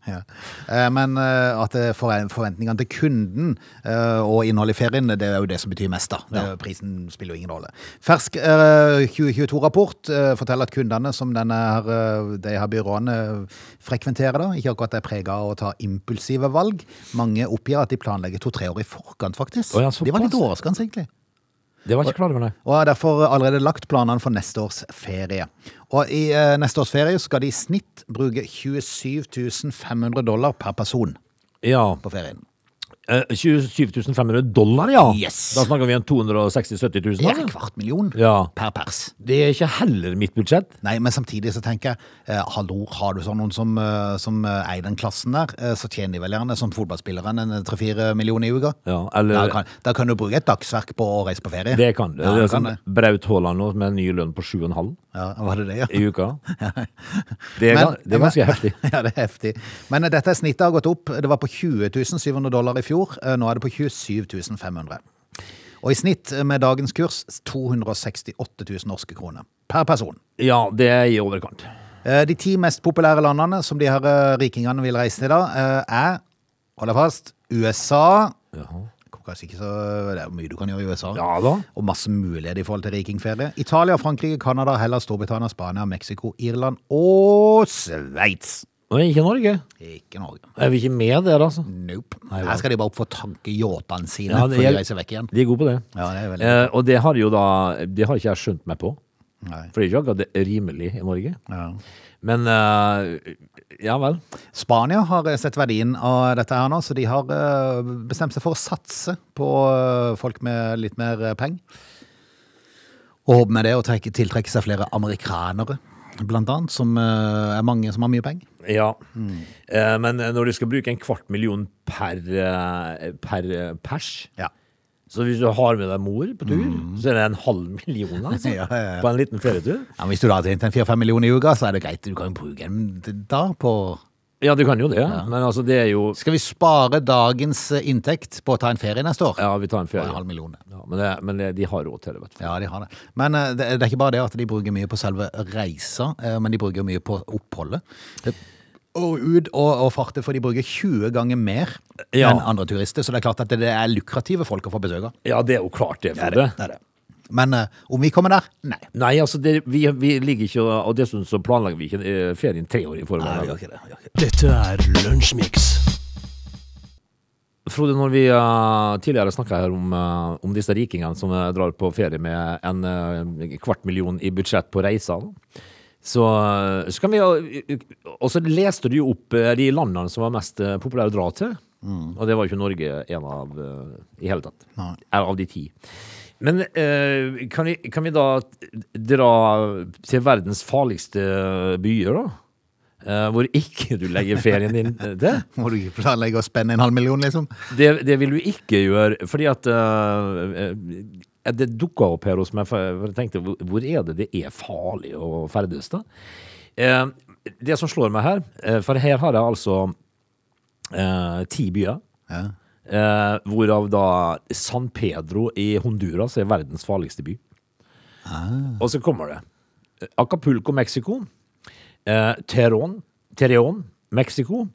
[SPEAKER 1] ja. Eh, men eh, at eh, forven- forventningene til kunden eh, og innholdet i ferien, det er jo det som betyr mest, da. Eh, Prisen spiller jo ingen rolle. Fersk eh, 2022-rapport eh, forteller at kundene som denne her, eh, de her byråene eh, frekventerer, da, ikke akkurat er prega av å ta impulsive valg. Mange oppgir at de planlegger to-tre år i forkant, faktisk.
[SPEAKER 2] Å ja, såpass.
[SPEAKER 1] de var litt overraskende, egentlig
[SPEAKER 2] Det var jeg ikke klar over, nei.
[SPEAKER 1] og har derfor allerede lagt planene for neste års ferie. Og i eh, neste års ferie skal de i snitt bruke 27 500 dollar per person
[SPEAKER 2] Ja.
[SPEAKER 1] på ferien.
[SPEAKER 2] Eh, 27 500 dollar, ja.
[SPEAKER 1] Yes.
[SPEAKER 2] Da snakker vi om 260 000-70 000.
[SPEAKER 1] Det er
[SPEAKER 2] altså.
[SPEAKER 1] en kvart million
[SPEAKER 2] Ja.
[SPEAKER 1] per pers.
[SPEAKER 2] Det er ikke heller mitt budsjett.
[SPEAKER 1] Nei, men samtidig så tenker jeg, eh, hallo, har du sånn noen som, eh, som eh, eier den klassen der, eh, så tjener de vel gjerne som fotballspillere en 3-4 millioner i uka.
[SPEAKER 2] Ja, eller-
[SPEAKER 1] da, kan, da kan du bruke et dagsverk på å reise på ferie.
[SPEAKER 2] Det kan det.
[SPEAKER 1] Ja,
[SPEAKER 2] det er sånn-
[SPEAKER 1] det kan
[SPEAKER 2] som
[SPEAKER 1] det.
[SPEAKER 2] Braut Haaland nå med en ny lønn på 7,5
[SPEAKER 1] Ja, var det det, ja?
[SPEAKER 2] (laughs) i uka. Det er,
[SPEAKER 1] Men-
[SPEAKER 2] ga- det er ganske
[SPEAKER 1] men-
[SPEAKER 2] heftig.
[SPEAKER 1] (laughs) Ja, det er heftig. Men eh, dette snittet har gått opp. Det var på 20 700 dollar i fjor. Eh, Nå er det på 27 500. Og i snitt eh, med dagens kurs 268 000 norske kroner per person.
[SPEAKER 2] Ja, det er i overkant.
[SPEAKER 1] Eh, De ti mest populære landene som de her eh, rikingene vil reise til da, eh, er Hold deg fast. USA.
[SPEAKER 2] Jaha.
[SPEAKER 1] Kanskje ikke så, Det er jo mye du kan gjøre i USA.
[SPEAKER 2] Ja da.
[SPEAKER 1] Og masse muligheter i forhold til rikingferie. Italia, Frankrike, Canada, Hellas, Storbritannia, Spania, Mexico, Irland og Sveits.
[SPEAKER 2] Nå er ikke Norge.
[SPEAKER 1] Ikke Norge.
[SPEAKER 2] Er vi ikke med der, altså?
[SPEAKER 1] Nope.
[SPEAKER 2] vel.
[SPEAKER 1] Her skal de bare opp for tankeyachtene sine
[SPEAKER 2] Ja, det
[SPEAKER 1] før de
[SPEAKER 2] er-
[SPEAKER 1] reiser vekk igjen.
[SPEAKER 2] De er gode på det.
[SPEAKER 1] Ja, det er veldig
[SPEAKER 2] Eh, og det har jo da Det har ikke jeg skjønt meg på.
[SPEAKER 1] Nei.
[SPEAKER 2] For det er ikke akkurat det rimelig i Norge.
[SPEAKER 1] Ja.
[SPEAKER 2] Men eh, ja vel.
[SPEAKER 1] Spania har eh, sett verdien av dette her nå, så de har eh, bestemt seg for å satse på eh, folk med litt mer eh, penger. Og håper med det å trekke, tiltrekke seg flere amerikanere, blant annet, som eh, er mange som har mye penger.
[SPEAKER 2] Ja.
[SPEAKER 1] Mm.
[SPEAKER 2] Eh, men når du skal bruke en kvart million per, eh, per eh, pers
[SPEAKER 1] Ja.
[SPEAKER 2] Så hvis du har med deg mor på tur, så er det en halv million altså,
[SPEAKER 1] Mm. (laughs) Ja, ja, ja.
[SPEAKER 2] på en liten ferietur.
[SPEAKER 1] men hvis du da har tjent en 4-5 millioner i uka, så er det greit. Du kan jo bruke en da på
[SPEAKER 2] Ja, du kan jo det, men altså, det er jo
[SPEAKER 1] Skal vi spare dagens eh, inntekt på å ta en ferie neste år?
[SPEAKER 2] Ja, vi tar en
[SPEAKER 1] På
[SPEAKER 2] ferie.
[SPEAKER 1] en halv million.
[SPEAKER 2] Ja, men det, men det, de har råd til det, vet du.
[SPEAKER 1] Ja, de har det. Men eh, det, det er ikke bare det at de bruker mye på selve reisa, eh, men de bruker mye på oppholdet. Det, og ut og, og farte, for de bruker 20 ganger mer
[SPEAKER 2] Ja.
[SPEAKER 1] enn andre turister. Så det er klart at det, det er lukrative folk å få besøk av.
[SPEAKER 2] Ja, det er jo klart det, Frode.
[SPEAKER 1] Det er det. Men eh, om vi kommer der? Nei.
[SPEAKER 2] Nei, altså, det, vi, vi ligger ikke og og dessuten så planlegger vi ikke eh, ferien tre år i forveien.
[SPEAKER 1] ikke det. Vi gjør ikke det.
[SPEAKER 3] Dette er Lunsjmix.
[SPEAKER 2] Frode, når vi eh, tidligere snakka her om, eh, om disse rikingene som eh, drar på ferie med en eh, kvart million i budsjett på reisa, da, så, eh, så kan vi jo- Og så leste du jo opp eh, de landene som var mest eh, populære å dra til. Og det var jo ikke Norge en av eh, i hele tatt.
[SPEAKER 1] Nei.
[SPEAKER 2] Er av de ti. Men eh, kan, vi, kan vi da dra til verdens farligste byer, da? Eh, hvor ikke du legger ferien din eh, til?
[SPEAKER 1] (laughs) Må du ikke planlegge å spenne en halv million, liksom?
[SPEAKER 2] Det, det vil du ikke gjøre, fordi at eh, eh, Det dukka opp her hos meg, for jeg- for jeg tenkte hvor- hvor er det det er farlig å ferdes, da? Eh, det som slår meg her, eh, for her har jeg altså eh, ti byer.
[SPEAKER 1] Ja.
[SPEAKER 2] eh, hvorav da San Pedro i Honduras er verdens farligste by. Og så kommer det eh, Acapulco, Mexico. Eh, Teron, Tereon, Mexico.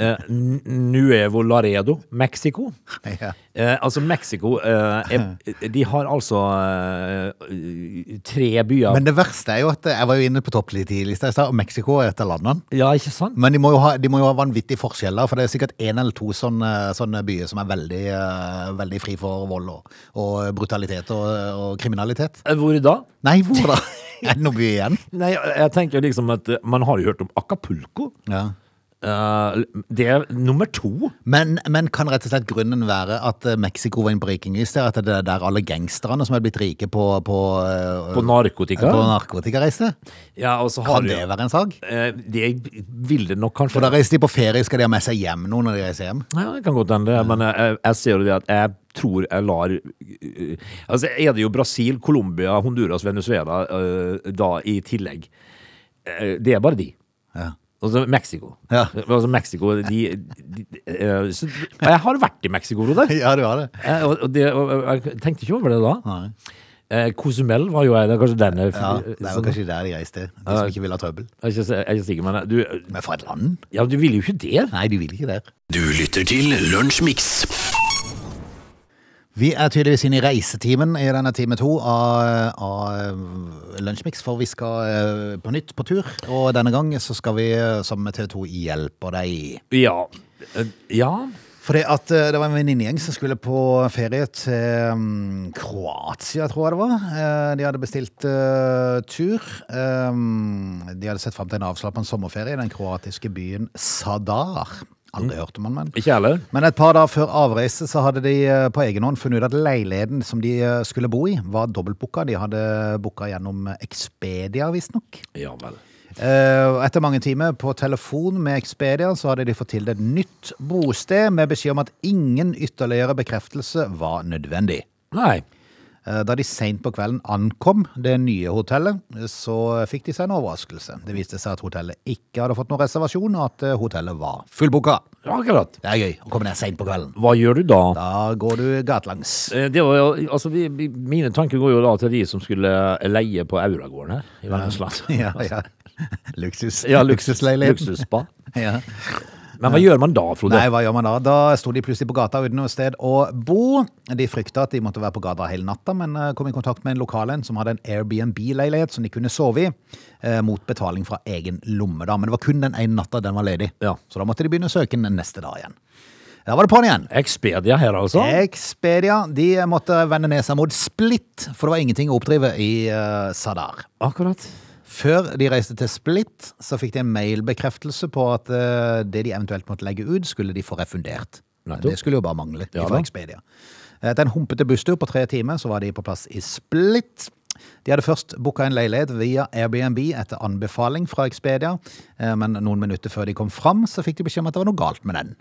[SPEAKER 2] Eh, N- Nuevo Laredo, Mexico.
[SPEAKER 1] Ja.
[SPEAKER 2] Eh, altså, Mexico eh,
[SPEAKER 1] (laughs)
[SPEAKER 2] er, De har altså eh, tre byer
[SPEAKER 1] Men det verste er jo at eh, jeg var jo inne på topplista i stad, og Mexico er et av landene.
[SPEAKER 2] Ja, ikke sant?
[SPEAKER 1] Men de må, jo ha, de må jo ha vanvittige forskjeller, for det er sikkert én eller to sånne, sånne byer som er veldig, eh, veldig fri for vold og, og brutalitet og, og kriminalitet.
[SPEAKER 2] Eh, Hvor da?
[SPEAKER 1] Nei, hvor (laughs) da? Er det noen by igjen?
[SPEAKER 2] Nei, jeg jeg tenker liksom at eh, man har jo hørt om Acapulco.
[SPEAKER 1] Ja.
[SPEAKER 2] Eh, det er nummer to.
[SPEAKER 1] Men, men kan rett og slett grunnen være at eh, Mexico var en breakinglist, at det er der alle gangsterne som er blitt rike på, på, eh,
[SPEAKER 2] På narkotika?
[SPEAKER 1] på narkotikareise?
[SPEAKER 2] Ja, og så har
[SPEAKER 1] Kan
[SPEAKER 2] du-
[SPEAKER 1] det være en sak?
[SPEAKER 2] Eh, det vil det nok kanskje
[SPEAKER 1] For da reiser de på ferie, skal de ha med seg hjem noe når de reiser hjem?
[SPEAKER 2] Ja, det kan godt hende, men jeg- jeg, jeg ser jo det at jeg tror jeg lar eh, Altså, er det jo Brasil, Colombia, Honduras, Venezuela eh, da i tillegg? Eh, det er bare de.
[SPEAKER 1] Ja.
[SPEAKER 2] Altså Mexico.
[SPEAKER 1] Ja.
[SPEAKER 2] Altså Mexico, de, de, de eh, så, og Jeg har vært i Mexico, Frode.
[SPEAKER 1] (laughs) (laughs) Ja, du har det.
[SPEAKER 2] Eh, og- og det- og Jeg tenkte ikke over det da.
[SPEAKER 1] Nei.
[SPEAKER 2] Eh, Cozumel var jo jeg, det er kanskje den jeg-
[SPEAKER 1] Ja, det er jo
[SPEAKER 2] sånn-
[SPEAKER 1] kanskje der de reiste, de som ikke vil ha trøbbel.
[SPEAKER 2] Jeg er ikke, jeg er ikke sikker, men eh, du,
[SPEAKER 1] Men fra et land?
[SPEAKER 2] ja, du vil jo ikke det.
[SPEAKER 1] Nei, de vil ikke det.
[SPEAKER 3] Du lytter til Lunsjmix.
[SPEAKER 1] Vi er tydeligvis inne i reisetimen i denne time to av, av Lunsjmix, for vi skal eh, på nytt på tur. Og denne gang så skal vi eh, sammen med TV 2 hjelpe deg.
[SPEAKER 2] Ja. Eh, Ja.
[SPEAKER 1] For det, at, eh, det var en venninnegjeng som skulle på ferie til mm, Kroatia, tror jeg det var. Eh, De hadde bestilt eh, tur. Eh, De hadde sett fram til en avslappende sommerferie i den kroatiske byen Sadar. Aldri hørt om han, men
[SPEAKER 2] Ikke jeg heller.
[SPEAKER 1] Men et par dager før avreise så hadde de eh, på egen hånd funnet ut at leiligheten som de eh, skulle bo i, var dobbeltbooka. De hadde booka gjennom Expedia, visstnok.
[SPEAKER 2] Ja vel.
[SPEAKER 1] Eh, og Etter mange timer på telefon med Expedia så hadde de fått til et nytt bosted med beskjed om at ingen ytterligere bekreftelse var nødvendig.
[SPEAKER 2] Nei.
[SPEAKER 1] Eh, Da de seint på kvelden ankom det nye hotellet, så fikk de seg en overraskelse. Det viste seg at hotellet ikke hadde fått noen reservasjon, og at eh, hotellet var fullbooka.
[SPEAKER 2] Akkurat.
[SPEAKER 1] Det er gøy å komme ned seint på kvelden.
[SPEAKER 2] Hva gjør du da?
[SPEAKER 1] Da går du gatelangs.
[SPEAKER 2] (laughs) Eh, Det var, jo- altså, vi, vi- mine tanker går jo da til de som skulle eh, leie på Auragården her i Vennesland.
[SPEAKER 1] Ja, ja. (laughs) Luksus.
[SPEAKER 2] Ja, luksus, (laughs)
[SPEAKER 1] Luksusleilighet.
[SPEAKER 2] luksusspa.
[SPEAKER 1] Ja.
[SPEAKER 2] Men hva gjør man da, Frode?
[SPEAKER 1] Nei, hva gjør man da? Da sto de plutselig på gata uten noe sted å bo. De frykta at de måtte være på gata hele natta, men eh, kom i kontakt med en lokal en som hadde en Airbnb-leilighet som de kunne sove i, eh, mot betaling fra egen lomme. da. Men det var kun den ene natta den var ledig,
[SPEAKER 2] Ja.
[SPEAKER 1] så da måtte de begynne å søke den neste dag igjen. Da var det på'n igjen.
[SPEAKER 2] Expedia her, altså?
[SPEAKER 1] Expedia de måtte vende nesa mot Split, for det var ingenting å oppdrive i eh, Sadar.
[SPEAKER 2] Akkurat.
[SPEAKER 1] Før de reiste til Split, så fikk de en mailbekreftelse på at eh, det de eventuelt måtte legge ut, skulle de få refundert. Men
[SPEAKER 2] Nettopp.
[SPEAKER 1] Det skulle jo bare mangle
[SPEAKER 2] Ja
[SPEAKER 1] fra
[SPEAKER 2] da.
[SPEAKER 1] Expedia. Etter en humpete busstur på tre timer, så var de på plass i Split. De hadde først booka en leilighet via Airbnb etter anbefaling fra Expedia, eh, men noen minutter før de kom fram, så fikk de beskjed om at det var noe galt med
[SPEAKER 2] (laughs)
[SPEAKER 1] den.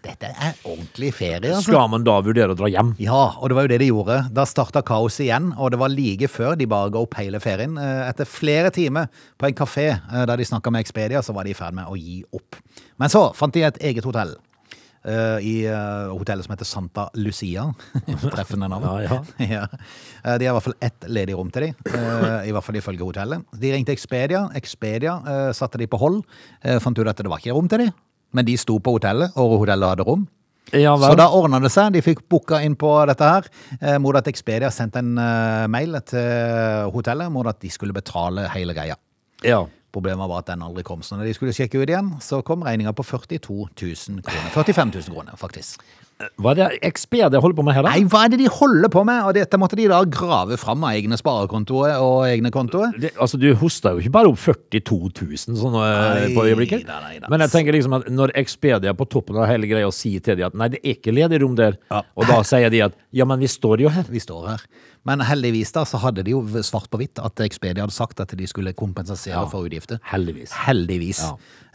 [SPEAKER 1] Dette er ordentlig ferie, altså.
[SPEAKER 2] Skal man da vurdere å dra hjem?
[SPEAKER 1] Ja, og det var jo det de gjorde. Da starta kaoset igjen, og det var like før de bare ga opp hele ferien. Eh, Etter flere timer på en kafé eh, der de snakka med Expedia, så var de i ferd med å gi opp. Men så fant de et eget hotell. eh, I eh, hotellet som heter Santa Lucia. (laughs) Treffende navn.
[SPEAKER 2] Ja,
[SPEAKER 1] (laughs) Ja. Eh, De har i hvert fall ett ledig rom til de, eh, i hvert fall ifølge hotellet. De ringte Expedia, Expedia eh, satte de på hold, eh, fant ut at det var ikke rom til de, men de sto på hotellet, og hotellet hadde rom.
[SPEAKER 2] Ja
[SPEAKER 1] Så da ordna det seg. De fikk booka inn på dette her. eh, Mot at Expedia sendte en eh, mail til hotellet mot at de skulle betale hele greia.
[SPEAKER 2] Ja.
[SPEAKER 1] Problemet var at den aldri kom. Så når de skulle sjekke ut igjen, så kom regninga på 42 000 kroner. 45 000 kroner, faktisk.
[SPEAKER 2] Hva er det Expedia holder på med her, da?
[SPEAKER 1] Nei, hva er det de holder på med? Og dette måtte de da grave fram av egne sparekontoer og egne kontoer.
[SPEAKER 2] Det, altså, Du hosta jo ikke bare opp 42 000 sånn, eh, på
[SPEAKER 1] Nei,
[SPEAKER 2] øyeblikket.
[SPEAKER 1] nei, nei, nei.
[SPEAKER 2] Men jeg tenker liksom at når Expedia på toppen av hele greia sier til dem at nei, det er ikke ledig rom der,
[SPEAKER 1] Ja.
[SPEAKER 2] og da sier de at ja, men vi står jo her.
[SPEAKER 1] Vi står her. Men heldigvis da, så hadde de jo svart på hvitt at Expedia hadde sagt at de skulle kompensere
[SPEAKER 2] Ja.
[SPEAKER 1] for utgifter.
[SPEAKER 2] Heldigvis.
[SPEAKER 1] Heldigvis.
[SPEAKER 2] Ja.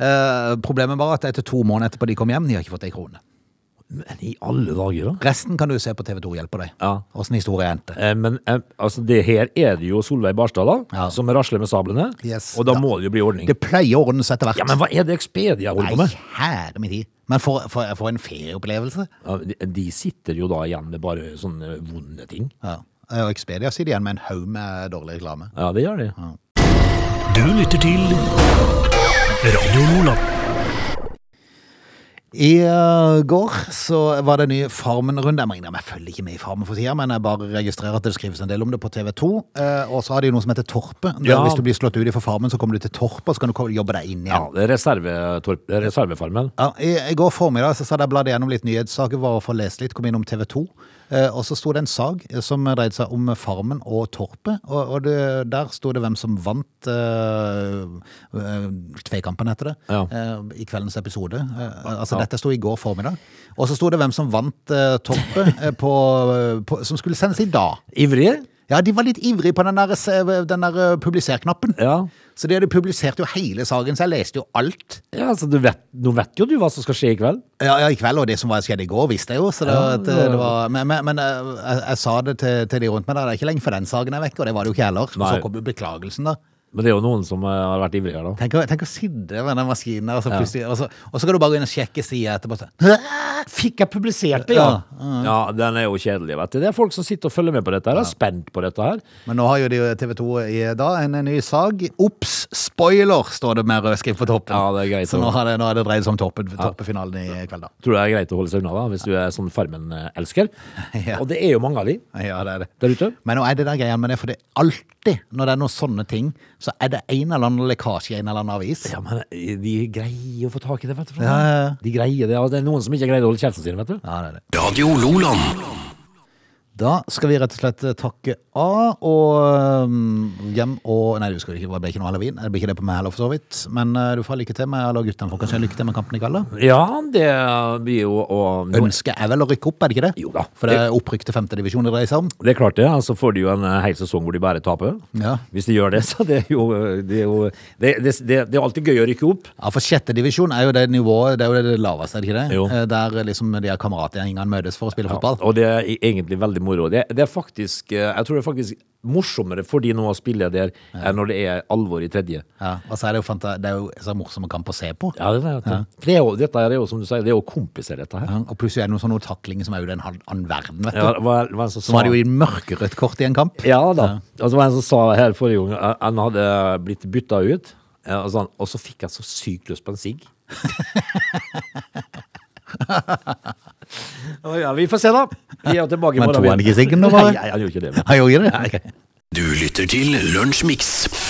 [SPEAKER 1] Eh, problemet var at etter to måneder etterpå de kom hjem, de har ikke fått ei krone.
[SPEAKER 2] Men i alle dager, da?
[SPEAKER 1] Resten kan du se på TV 2 hjelper deg.
[SPEAKER 2] Ja.
[SPEAKER 1] Åssen historien endte.
[SPEAKER 2] Eh, Men eh, altså, det her er det jo Solveig Barstad, da,
[SPEAKER 1] Ja.
[SPEAKER 2] som rasler med sablene.
[SPEAKER 1] Yes.
[SPEAKER 2] og da
[SPEAKER 1] Ja.
[SPEAKER 2] må det jo bli ordning.
[SPEAKER 1] Det pleier å ordne seg etter hvert.
[SPEAKER 2] Ja, Men hva er det Expedia holder
[SPEAKER 1] Nei,
[SPEAKER 2] på med?
[SPEAKER 1] herre min tid. Men for, for, for en ferieopplevelse.
[SPEAKER 2] Ja, de- De sitter jo da igjen med bare sånne vonde ting.
[SPEAKER 1] Ja. Eh, Og Expedia sitter igjen med en haug med dårlig reklame.
[SPEAKER 2] Ja, det gjør de.
[SPEAKER 3] Du lytter til Radio Nordland.
[SPEAKER 1] I eh, går så var det en ny Farmen-runde. Jeg må innrømme, jeg følger ikke med i Farmen for tida, men jeg bare registrerer at det skrives en del om det på TV 2. Eh, og så har de jo noe som heter Torpet. Der
[SPEAKER 2] Ja.
[SPEAKER 1] Hvis du blir slått ut for Farmen, så kommer du til Torpet, og så kan du ko- jobbe deg inn
[SPEAKER 2] Ja,
[SPEAKER 1] igjen. Ja.
[SPEAKER 2] det er reservetorp- det er reservefarmen.
[SPEAKER 1] i, I går formiddag så satt jeg og bladde gjennom litt nyhetssaker for å få lest litt, kom innom TV 2. eh, og så sto det en sag som dreide seg om Farmen og Torpet, og, og det, der sto det hvem som vant eh, eh, Tveikampen, heter det,
[SPEAKER 2] Ja.
[SPEAKER 1] eh, i kveldens episode. Eh, altså, dette sto i går formiddag. Og så sto det hvem som vant eh, Torpet, eh, på, på, som skulle sendes i dag.
[SPEAKER 2] Ivrige?
[SPEAKER 1] Ja, de var litt ivrige på den der, eh, den der eh, publiser-knappen.
[SPEAKER 2] Ja.
[SPEAKER 1] Så de hadde publisert jo hele saken, så jeg leste jo alt.
[SPEAKER 2] ja altså, du vet, nå vet jo du hva som skal skje i kveld.
[SPEAKER 1] Ja, ja, i kveld, og det som var skjedde i går, visste jeg jo. Så det, var- at eh, det, det var, men men, men eh, jeg, jeg sa det til, til de rundt meg, da. det er ikke lenge før den saken er vekk, og det var det jo ikke heller. Og
[SPEAKER 2] Nei.
[SPEAKER 1] så kom jo beklagelsen, da.
[SPEAKER 2] Men det er jo noen som eh, har vært ivrige her, da.
[SPEAKER 1] Tenk å, tenk å sitte med den maskinen der, og så, plutselig- og, så, og så kan du bare gå inn og sjekke sida etterpå. Så. «Hæ? Fikk jeg publisert det, ja?
[SPEAKER 2] Ja, den er jo kjedelig, vet du. Det er folk som sitter og følger med på dette her, er spent på dette her.
[SPEAKER 1] Men nå har jo de TV 2 i dag en ny sag. Ops, spoiler, står det med rød skrift på toppen.
[SPEAKER 2] Ja, det er greit
[SPEAKER 1] Så nå
[SPEAKER 2] å-
[SPEAKER 1] har det, nå har det dreid seg om toppen, toppefinalen i kveld, da.
[SPEAKER 2] Tror du det er greit å holde seg unna, da, hvis du er sånn (laughs) Farmen-elsker?
[SPEAKER 1] Ja.
[SPEAKER 2] Og det er jo mange av de
[SPEAKER 1] Ja, det er det.
[SPEAKER 2] der ute.
[SPEAKER 1] Men nå er det der greia med det, for det er alltid når det er noen sånne ting, så er det en eller annen lekkasje i en eller annen avis.
[SPEAKER 2] Ja, men eh, de greier å få tak i det, vet du.
[SPEAKER 1] Ja, ja, ja.
[SPEAKER 2] De greier det. Altså, det er noen som ikke greier å holde kjeften sin, vet du.
[SPEAKER 1] Ja, det er det.
[SPEAKER 3] Radio Loland.
[SPEAKER 1] Da skal vi rett og slett eh, takke av og øhm, hjem og Nei, du skal ikke, det ble ikke noe halloween. Det blir ikke det på meg heller, for så vidt. Men øh, du får ha lykke til med alle guttene. Får kanskje lykke til med kampen i kveld, da.
[SPEAKER 2] Ja, det blir jo å
[SPEAKER 1] Ønsket er vel å rykke opp, er det ikke det?
[SPEAKER 2] Jo da.
[SPEAKER 1] For det er opprykk til femtedivisjon det dreier seg om.
[SPEAKER 2] Det er klart det, så altså får de jo en eh, hel sesong hvor de bare taper.
[SPEAKER 1] Ja.
[SPEAKER 2] Hvis de gjør det, (laughs) så det er jo, eh, det er jo det, det, det, det er alltid gøy å rykke opp.
[SPEAKER 1] Ja, for sjette divisjon er jo det nivået, det er jo det laveste, er det ikke det?
[SPEAKER 2] Jo.
[SPEAKER 1] Eh, Der liksom de her kameratgjengene møtes for å spille fotball.
[SPEAKER 2] Og det er i- egentlig veldig moro. Det, det er faktisk, eh, jeg tror det er faktisk morsommere for de nå å spille der enn når det er alvor i tredje.
[SPEAKER 1] Ja, og så er det jo, fanta- det er jo så morsom kamp å se på.
[SPEAKER 2] Ja, det er, det. For det er jo, dette er jo, som du sier, det er jo kompiser dette her.
[SPEAKER 1] Ja, og plutselig er det noen sånne taklinger som er jo den hal- annen verden, vet du.
[SPEAKER 2] Ja, hva, hva er det som
[SPEAKER 1] Så var det
[SPEAKER 2] sa-
[SPEAKER 1] jo i mørkerødt kort i en kamp.
[SPEAKER 2] Ja
[SPEAKER 1] (laughs)
[SPEAKER 2] da. Og så var det en som sa her forrige gang eh, han hadde
[SPEAKER 1] (laughs)
[SPEAKER 2] blitt bytta ut. eh, Og, sånn, og så fikk jeg så sykt lyst på en sigg. Å Ja, vi får se, da. Vi er jo tilbake i
[SPEAKER 1] Men
[SPEAKER 2] morgen.
[SPEAKER 1] tog han ikke siggen nå, bare?
[SPEAKER 2] Nei, han gjorde ikke det. men-
[SPEAKER 1] Han gjorde det?
[SPEAKER 4] Du lytter til Lunsjmix.